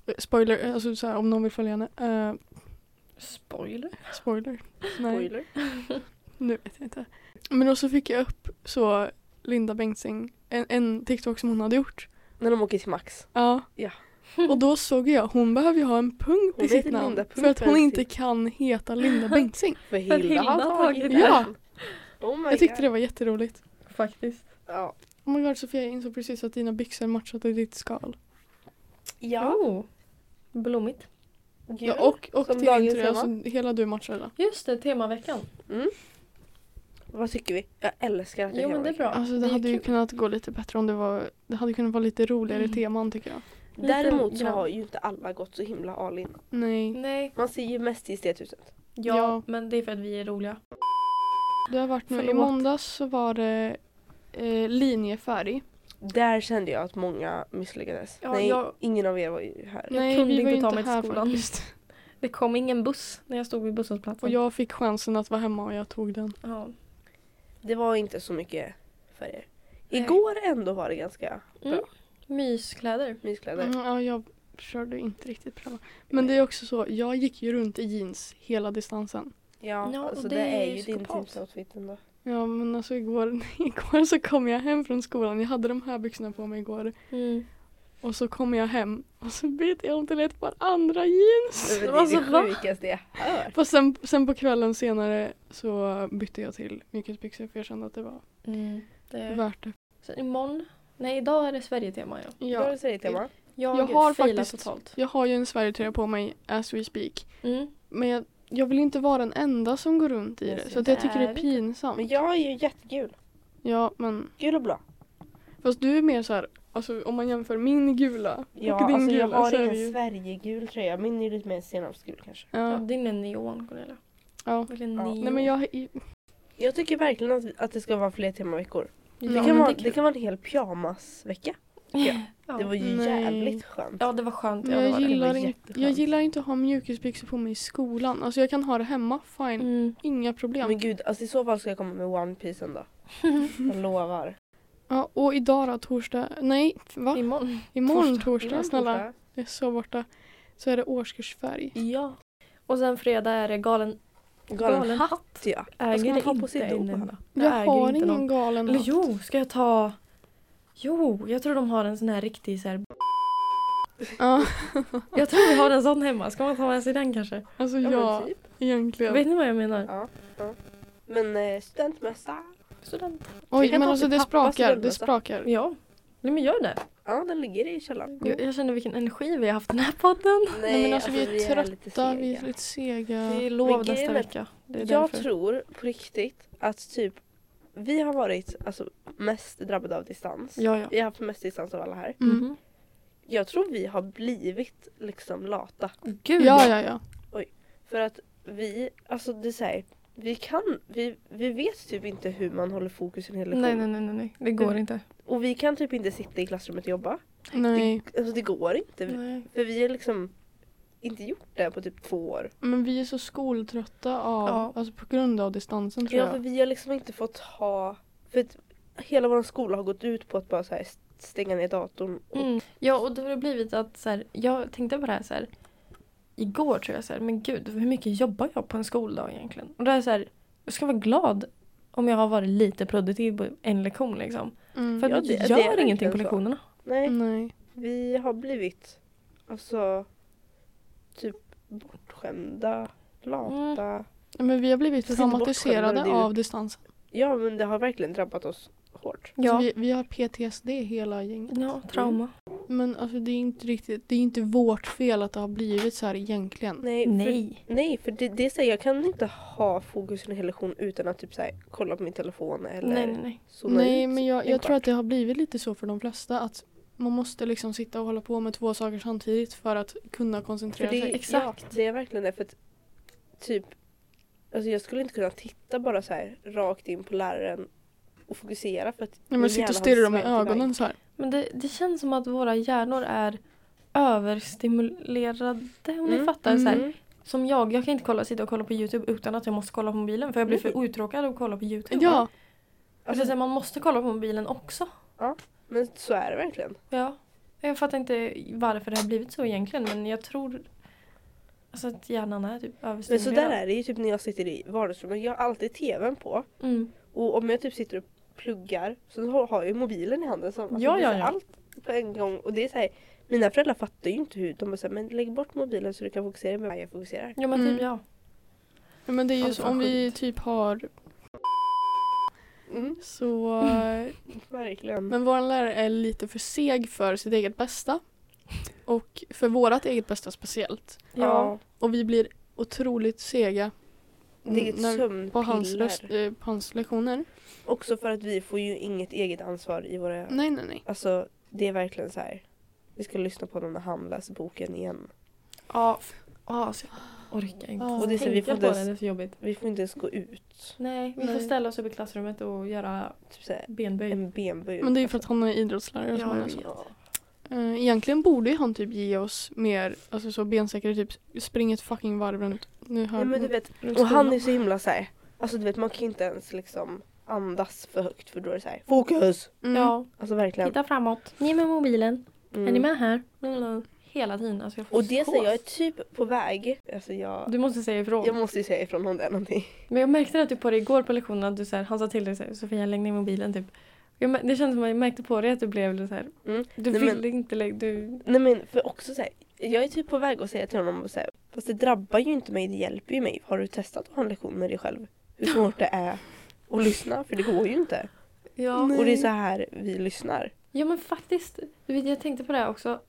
S2: Eh, Spoiler, alltså så här, om någon vill följa henne. Eh,
S3: Spoiler.
S2: spoiler. Nej,
S1: Spoiler.
S2: nu vet jag inte. Men då så fick jag upp så Linda Bengtzing, en, en TikTok som hon hade gjort.
S1: När de åker till Max.
S2: Ja.
S1: Ja.
S2: Och då såg jag, hon behöver ju ha en punkt
S1: Hon
S2: i sitt
S1: heter
S2: namn.
S1: Linda
S2: för att hon
S1: Punkt.
S2: inte kan heta Linda
S1: [LAUGHS]
S2: Bengtzing.
S1: För Hilda,
S3: Hilda
S1: har
S3: har tagit
S1: tagit
S2: den. Ja.
S1: Oh my
S2: Jag tyckte
S1: God.
S2: det var jätteroligt.
S3: Faktiskt.
S1: Ja.
S2: Oh my god Sofia, jag insåg precis att dina byxor matchade ditt skal.
S1: ja.
S3: Oh. Blommigt.
S1: Gud.
S2: Ja, och och
S1: Som
S2: till din
S1: dagens
S2: tröja,
S1: tema.
S2: alltså, hela du matchade.
S3: Just det, temaveckan.
S1: Vad tycker vi? Jag älskar att det
S3: Jo men det är bra.
S2: Alltså det,
S3: det är
S2: hade ju
S3: kul.
S2: kunnat gå lite bättre om det var, det hade kunnat vara lite roligare
S3: Mm.
S2: teman tycker jag.
S1: Däremot så
S3: grann.
S1: har ju inte alla gått så himla all in.
S2: Nej.
S3: Nej.
S1: Man ser ju mest i estethuset.
S3: Ja,
S2: Ja.
S3: men det är för att vi är roliga.
S2: Det har varit nu, i
S3: Förlåt.
S2: måndags så var det eh, linjefärg.
S1: Där kände jag att många misslyckades.
S3: Ja,
S1: Nej,
S3: jag-
S1: ingen av er var ju här.
S3: Jag
S2: Nej
S3: kunde
S2: vi var ju
S3: inte ta
S2: inte
S3: mig till
S2: här
S3: skolan.
S2: faktiskt.
S3: Det kom ingen buss när jag stod vid busshållplatsen.
S2: Och jag fick chansen att vara hemma och jag tog den.
S3: Ja.
S1: Det var inte så mycket färger.
S3: Nej.
S1: Igår ändå var det ganska
S3: Myskläder.
S1: myskläder.
S2: Mm, ja, jag körde inte riktigt på den. Men det är också så, jag gick ju runt i jeans hela distansen.
S1: Ja,
S3: Ja, och
S1: alltså
S3: det
S1: det,
S3: är
S1: är
S3: ju
S1: ju din
S3: psykopat.
S1: tipsoutfit ändå.
S3: [LAUGHS]
S2: Ja men alltså igår, [LAUGHS] igår så kom jag hem från skolan, jag hade de här byxorna på mig igår.
S3: Mm.
S2: Och så kom jag hem och så bytte jag om till ett par andra jeans.
S1: Det är
S3: Alltså, va?
S1: det sjukaste jag hört.
S2: Fast sen, sen på kvällen senare så bytte jag till mjukisbyxor för jag kände att det var
S3: Mm. Det är...
S1: Eh,
S2: värt det.
S3: Så imorgon. Nej, idag är det Sverige-tema ja.
S1: Ja. Då är
S2: Ja.
S1: det serietema.
S3: Jag,
S2: Jag har
S3: failar
S2: faktiskt-
S3: totalt.
S2: Jag har ju en Sverigetröja på mig as we speak.
S3: Mm.
S2: Men jag, jag vill inte vara den enda som går runt i
S1: Men
S2: det.
S1: så
S2: Så att jag
S3: där
S2: tycker det
S3: är
S2: är
S3: det.
S2: pinsamt.
S1: Men jag är ju jättegul.
S2: Ja men
S1: Gul och blå.
S2: fast du är mer så här, alltså om man jämför min gula och
S1: Ja,
S2: din
S1: alltså
S2: gula
S1: jag har
S2: så är
S1: ingen
S2: vi ju...
S1: Sverigegul tröja. Min är lite mer senapsgul kanske.
S3: Ja,
S2: Ja,
S3: din är neon Cornelia.
S2: ja.
S3: Verkligen
S1: Ja.
S3: neon.
S2: Nej men jag, i-
S1: Jag tycker verkligen att, att det ska vara fler temaveckor.
S2: Det
S3: Ja,
S1: Det
S3: men
S1: kan, vara,
S3: är
S1: det kan vara en hel pyjamasvecka.
S3: kul.
S1: ja.
S3: Ja.
S1: Det var ju
S2: Nej.
S1: jävligt skönt.
S3: ja, det var skönt. Ja,
S2: men
S3: det
S2: jag,
S3: var det.
S2: gillar
S1: Det var
S2: in,
S1: jätteskönt.
S2: jag gillar inte att ha mjukisbyxor på mig i skolan. Alltså jag kan ha det hemma, fine.
S3: Mm.
S2: Inga problem.
S1: Men gud, alltså i så fall ska jag komma med One Piece [LAUGHS] en dag. Jag lovar.
S2: Ja, och idag då, torsdag? Nej, va?
S3: Imorgon.
S2: Imorgon
S3: torsdag.
S1: Mm.
S2: torsdag, snälla. Jag är så borta. Så är det årskursfärg.
S3: Ja. Och sen fredag är det galen,
S1: Galen,
S3: galen
S1: hatt ja. Vad ska
S3: Äger
S1: man ha på
S3: inte
S1: sig då?
S3: en enda. Det
S2: Jag
S3: äger
S2: har
S3: inte någon.
S2: ingen galen
S3: Eller
S2: hatt.
S3: jo, ska jag ta... Jo, jag tror de har en sån här riktig så här...
S2: Ja,
S3: Jag tror vi har en sån hemma. Ska man ta med sig den kanske?
S2: alltså
S1: Ja,
S2: ja,
S1: men typ.
S2: egentligen.
S3: Vet ni vad jag menar?
S1: Men eh, studentmössa.
S3: Student.
S1: vi
S2: Oj,
S1: kan
S2: men
S1: ta
S2: alltså
S1: till
S2: det
S1: pappas
S2: sprakar, det
S1: studentmössa.
S2: sprakar.
S3: Ja. Nej men gör det.
S1: Ja, den ligger i källaren.
S3: Jag, jag känner vilken energi vi har haft i den här podden.
S2: Nej, men alltså, vi är
S1: lite
S2: trötta, vi
S1: sega.
S2: är lite sega.
S3: Det är
S1: Men
S3: lov
S1: grejen
S3: nästa
S1: är-
S3: vecka. Det är
S1: Jag
S3: därför.
S1: tror på riktigt att typ vi har varit alltså, mest drabbade av distans.
S3: Ja, ja.
S1: Vi har haft mest distans av alla här.
S2: Mm.
S1: Jag tror vi har blivit liksom lata.
S3: Gud
S2: Ja, ja, ja.
S1: För att vi, alltså det är så här, vi kan, vi, vi vet typ inte hur man håller fokus i en hel lektion.
S3: Nej, nej, nej, nej, nej. Det går inte.
S1: Och vi kan typ inte sitta i klassrummet och jobba.
S2: Nej.
S1: Alltså det går inte.
S3: Nej.
S1: För vi har liksom inte gjort det på typ två år.
S2: Men vi är så skoltrötta av,
S3: Ja.
S2: alltså på grund av distansen tror
S1: Ja, för
S2: jag.
S1: vi har liksom inte fått ha... För att hela vår skola har gått ut på att bara så här stänga ner datorn. Och,
S3: Mm. Ja, och det har det blivit att så här, jag tänkte på det här så här. Igår tror jag så här, men gud hur mycket jobbar jag på en skoldag egentligen? Och det är så här, jag ska vara glad om jag har varit lite produktiv på en lektion liksom.
S2: Mm.
S3: För att
S1: Ja,
S3: ja,
S1: det- det är
S3: gör ingenting
S1: verkligen
S3: på
S1: så.
S3: lektionerna.
S1: Nej,
S2: Nej.
S1: vi har blivit alltså typ bortskämda, lata.
S2: Men vi har blivit
S1: Fast inte bortskämda, det
S2: traumatiserade
S1: är ju-
S2: av distansen.
S1: Ja, men det har verkligen drabbat oss hårt.
S2: Ja.
S3: Ja.
S2: Alltså, Vi, vi har PTSD hela gänget.
S3: ja,
S1: Mm.
S3: trauma.
S2: Men alltså det är inte riktigt, det är inte vårt fel att det har blivit så här egentligen.
S1: Nej, för,
S3: Nej.
S1: nej, för det, det är så här, jag kan inte ha fokus i en hel lektion utan att typ så här, kolla på min telefon eller
S3: Nej, nej, nej.
S1: zona
S2: Nej,
S1: ut
S2: men jag,
S1: en
S2: jag tror
S1: kvart.
S2: att det har blivit lite så för de flesta att man måste liksom sitta och hålla på med två saker samtidigt för att kunna
S1: För
S2: koncentrera
S1: det,
S2: sig.
S1: exakt. Ja, det är verkligen det. För att, typ, alltså jag skulle inte kunna titta bara så här rakt in på läraren och fokusera för att
S2: När
S1: min
S2: man sitter och
S1: hjärna har
S2: stirrar dem i
S1: svävat iväg.
S2: ögonen så här.
S3: Men det, det känns som att våra hjärnor är överstimulerade om ni
S1: Mm.
S3: fattar. Så här,
S1: Mm.
S3: som jag, jag kan inte kolla, sitta och kolla på Youtube utan att jag måste kolla på mobilen för jag blir
S1: Nej.
S3: för uttråkad av att kolla på Youtube.
S2: Ja,
S3: Alltså, så
S1: Alltså,
S3: här, man måste kolla på mobilen också.
S1: men så är det verkligen.
S3: Ja. Jag fattar inte varför det har blivit så egentligen men jag tror alltså, att hjärnan är typ
S1: Men så där
S3: överstimulerad.
S1: är det ju typ när jag sitter i vardagsrummet. Jag har alltid tvn på
S3: Mm.
S1: och om jag typ sitter och pluggar så har har jag ju mobilen i handen. Så alltså,
S3: Ja,
S1: det är så
S3: ja,
S1: här
S3: ja.
S1: Allt på en gång. Och det är så här, mina föräldrar fattar ju inte hur. De bara säger men lägg bort mobilen så du kan fokusera med vad jag fokuserar.
S3: Ja men
S2: Mm.
S3: typ ja.
S2: Ja, men det är
S3: Ja,
S2: ju
S3: det
S1: Alltså,
S2: så,
S3: var
S2: om vi typ har
S1: Mm, [LAUGHS]
S2: så... eh,
S1: verkligen.
S2: Men vår lärare är lite för seg för sitt eget bästa. Och för vårat eget bästa speciellt.
S3: Ja.
S2: Och vi blir otroligt sega
S1: Mm, Det är ett
S2: Mm, när-
S1: sömnpiller.
S2: på hans, röst, eh, på hans lektioner.
S1: Också för att vi får ju inget eget ansvar i våra...
S2: Nej, nej, nej.
S1: Alltså det är verkligen så här. Vi ska lyssna på honom när han läser boken igen.
S3: Ja. Ja,
S2: alltså,
S3: så jag orkar inte.
S2: Ja.
S1: Och det är så, vi
S3: Tänka
S1: får
S3: på
S1: inte
S3: det,
S1: ens,
S3: det är så jobbigt.
S1: vi får inte ens gå ut.
S3: Nej, vi får
S2: Nej.
S3: ställa oss upp i klassrummet och göra
S1: Typ så här,
S3: benböj.
S1: en benböj.
S2: Men det är ju för att han är idrottslärare. och så han är så.
S1: alltså. ja. alltså.
S2: Eh, Egentligen borde ju han typ ge oss mer, alltså så bensäkrare typ spring ett fucking varv runt. Nu hör Mm,
S1: ja men du vet.
S2: runt
S1: Och han är
S2: skolan.
S1: så himla så här. Alltså du vet man kan ju inte ens liksom andas för högt för då är det så här. Fokus!
S2: Mm.
S3: Ja,
S1: Alltså verkligen.
S3: titta framåt. Ni är med mobilen.
S1: Mm.
S3: Är ni med här? Blablabla. Hela tiden. Alltså, jag får
S1: Och det
S3: psykos.
S1: säger jag är typ på väg. Alltså jag,
S3: Du måste säga ifrån.
S1: jag måste ju säga ifrån om det är någonting.
S3: Men jag märkte att du på dig igår på lektionen att du så här, han sa till dig så här, Sofia lägg ner mobilen typ. Jag, mär- det känns som att jag märkte på dig att du blev lite så här.
S1: Mm.
S3: Du
S1: Nej, men-
S3: ville inte lägga, du...
S1: Nej men för också så här, jag är typ på väg att säga till honom och säga, fast det drabbar ju inte mig, det hjälper ju mig. Har du testat att ha en lektion med dig själv? Hur svårt det är att lyssna, för det går ju inte.
S3: Ja.
S1: Och det är så här vi lyssnar.
S3: ja men faktiskt, du vet jag tänkte på det här också.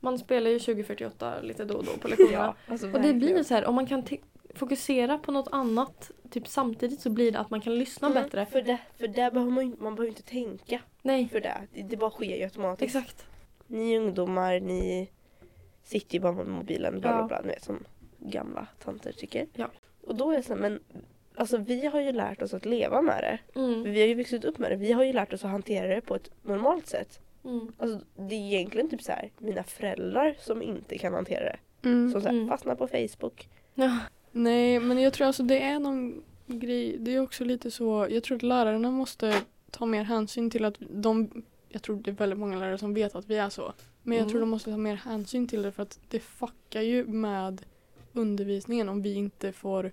S3: Man spelar ju 2048 lite då och då på lektionerna.
S1: alltså
S3: Och det blir
S1: verkligen.
S3: så här, om man kan te- fokusera på något annat typ samtidigt så blir det att man kan lyssna
S2: Mm.
S3: bättre.
S1: För, det, för där behöver man, ju- man behöver inte tänka
S3: Nej,
S1: för det. Det, det bara sker ju automatiskt.
S3: exakt.
S1: Ni ungdomar, ni sitter ju bara med mobilen bla bla
S3: Ja.
S1: bla, ni vet som gamla tanter tycker.
S3: Ja.
S1: Och då är det så här, men alltså vi har ju lärt oss att leva med det.
S3: Mm.
S1: Vi har ju vuxit upp med det. Vi har ju lärt oss att hantera det på ett normalt sätt.
S3: Mm.
S1: Alltså det är egentligen typ så här mina föräldrar som inte kan hantera det. Som så här,
S3: Mm.
S1: fastnar på Facebook.
S3: Ja.
S2: Nej, men jag tror alltså det är någon grej. Det är också lite så. Jag tror att lärarna måste ta mer hänsyn till att de. Jag tror det är väldigt många lärare som vet att vi är så. Men jag
S3: Mm.
S2: tror de måste ta mer hänsyn till det för att det fuckar ju med undervisningen om vi inte får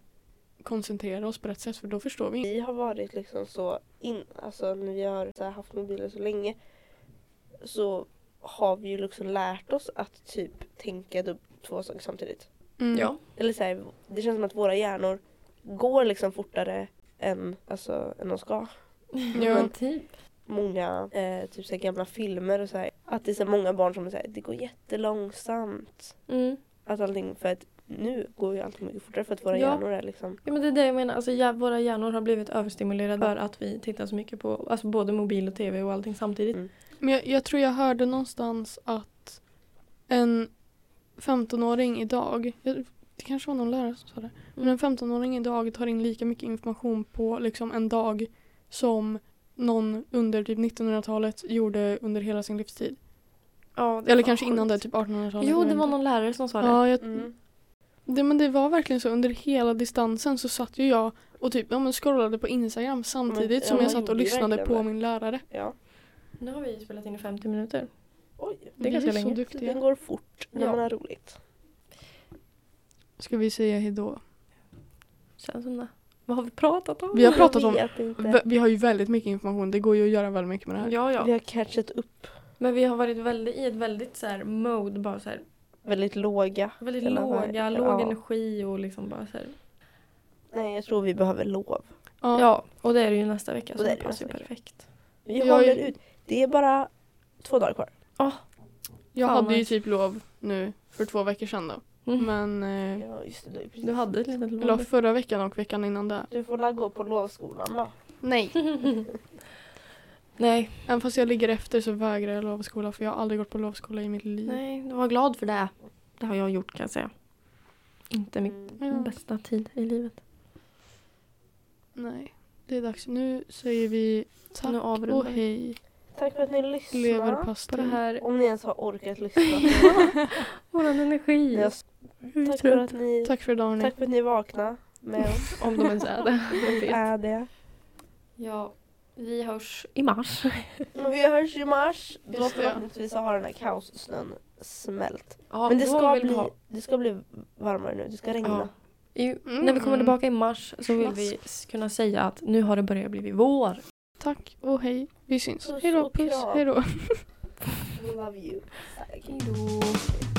S2: koncentrera oss på rätt sätt för då förstår vi inte.
S1: Vi har varit liksom så in, alltså när vi har så här haft mobiler så länge så har vi ju liksom lärt oss att typ tänka dub- två saker samtidigt.
S2: Mm.
S3: ja.
S1: Eller så här, det känns som att våra hjärnor går liksom fortare än, alltså, än de ska.
S3: [LAUGHS]
S2: Ja.
S3: Men typ.
S1: Många eh, typ så här gamla filmer och så här, att det är så här många barn som säger det går jättelångsamt.
S3: Mm.
S1: Att allting, för att nu går ju allting mycket fortare för att våra
S3: Ja.
S1: hjärnor är liksom
S3: Ja, men det är det jag menar. Alltså, ja, våra hjärnor har blivit överstimulerade för att vi tittar så mycket på alltså, både mobil och tv och allting samtidigt.
S2: Men jag, jag tror jag hörde någonstans att en 15-åring idag, jag, det kanske var någon lärare som sa det, Mm. men en 15-åring idag tar in lika mycket information på liksom en dag som någon under typ 1900-talet gjorde under hela sin livstid.
S3: Ja,
S2: Eller kanske innan det, typ 1800-talet.
S3: Jo,
S2: jag
S3: det
S2: vet
S3: var
S2: inte.
S3: någon lärare som sa det.
S2: Ja, jag,
S1: mm.
S2: det, men det var verkligen så. Under hela distansen så satt ju jag och typ ja, men scrollade på Instagram samtidigt
S1: Men, ja,
S2: som
S1: man
S2: jag satt och
S1: gjorde ju
S2: lyssnade
S1: verkligen
S2: på
S1: det.
S2: min lärare.
S1: ja.
S3: Nu har vi spelat in i 50 minuter.
S1: Oj,
S3: Det är
S2: Vi
S3: ganska
S2: så
S3: länge.
S1: den
S2: duktiga.
S1: går fort när
S3: Ja.
S1: man har roligt.
S2: Ska vi säga hejdå?
S3: Känns som det. Vad har vi pratat om?
S2: Vi har pratat
S1: jag
S2: om
S1: vet inte.
S2: Vä- Vi har ju väldigt mycket information. Det går ju att göra väldigt mycket med det här.
S3: Ja,
S1: Vi
S3: ja.
S1: har catchat upp
S3: Men vi har varit väldigt, i ett väldigt så här mode, bara så här,
S1: väldigt låga.
S3: väldigt
S1: Hela
S3: låga,
S1: vägen,
S3: låg
S1: ja.
S3: energi och liksom bara så här.
S1: Nej, jag tror vi behöver lov.
S2: Ja.
S3: Ja, och det är det ju nästa vecka
S1: Och
S3: så
S1: det
S3: det
S1: är det
S3: passar ju
S1: nästa vecka.
S3: perfekt.
S1: Vi
S2: Jag
S1: håller
S2: är-
S1: ut. Det är bara två dagar kvar.
S2: Jag
S3: Fan,
S2: hade ju
S3: nice.
S2: typ lov nu för två veckor sedan då.
S3: Mm.
S2: Men eh,
S1: Ja, just det. det är precis.
S3: Du hade ett litet
S2: eller
S3: låg.
S2: förra veckan och veckan innan det.
S1: Du får la gå på lovskolan då.
S2: Nej.
S3: Nej,
S2: [LAUGHS] Även fast jag ligger efter så vägrar jag lovskola för jag har aldrig gått på lovskola i mitt liv.
S3: nej, var glad för det. Det har jag gjort kan jag säga. Inte min
S2: Ja,
S1: Mm.
S3: bästa tid i livet.
S2: nej. Det är dags. Nu säger vi tack
S3: Nu
S2: och
S3: avrundar vi.
S2: hej.
S1: Tack för att ni lyssnade.
S3: På det
S2: Leverpastej.
S3: här,
S1: Om ni ens har orkat
S3: [LAUGHS]
S1: lyssna. [LAUGHS]
S3: vår energi.
S1: Ni har- Tack för att ni,
S2: Tack för idag hörni.
S1: tack för att ni vaknade med
S3: [LAUGHS]
S1: oss.
S3: Om de ens är det. Vem vet.
S1: Är det.
S3: Ja, vi hörs i [LAUGHS] mars.
S1: Men vi hörs i mars. Då
S2: Just det, ja.
S1: förhoppningsvis har den här kaossnön smält.
S3: Ja,
S1: Men det
S3: då
S1: ska,
S3: vill vi
S1: bli,
S3: ha-
S1: det ska bli varmare nu. Det ska regna.
S3: I,
S2: Mm.
S3: När vi kommer tillbaka i mars så vill
S2: Mask.
S3: vi s- kunna säga att nu har det börjat bli vår.
S2: Tack och hej. Vi syns.
S1: Puss
S2: Hej då.
S1: och
S2: Puss.
S1: kram.
S2: Hej då.
S1: Love you. Tack.
S3: Hejdå.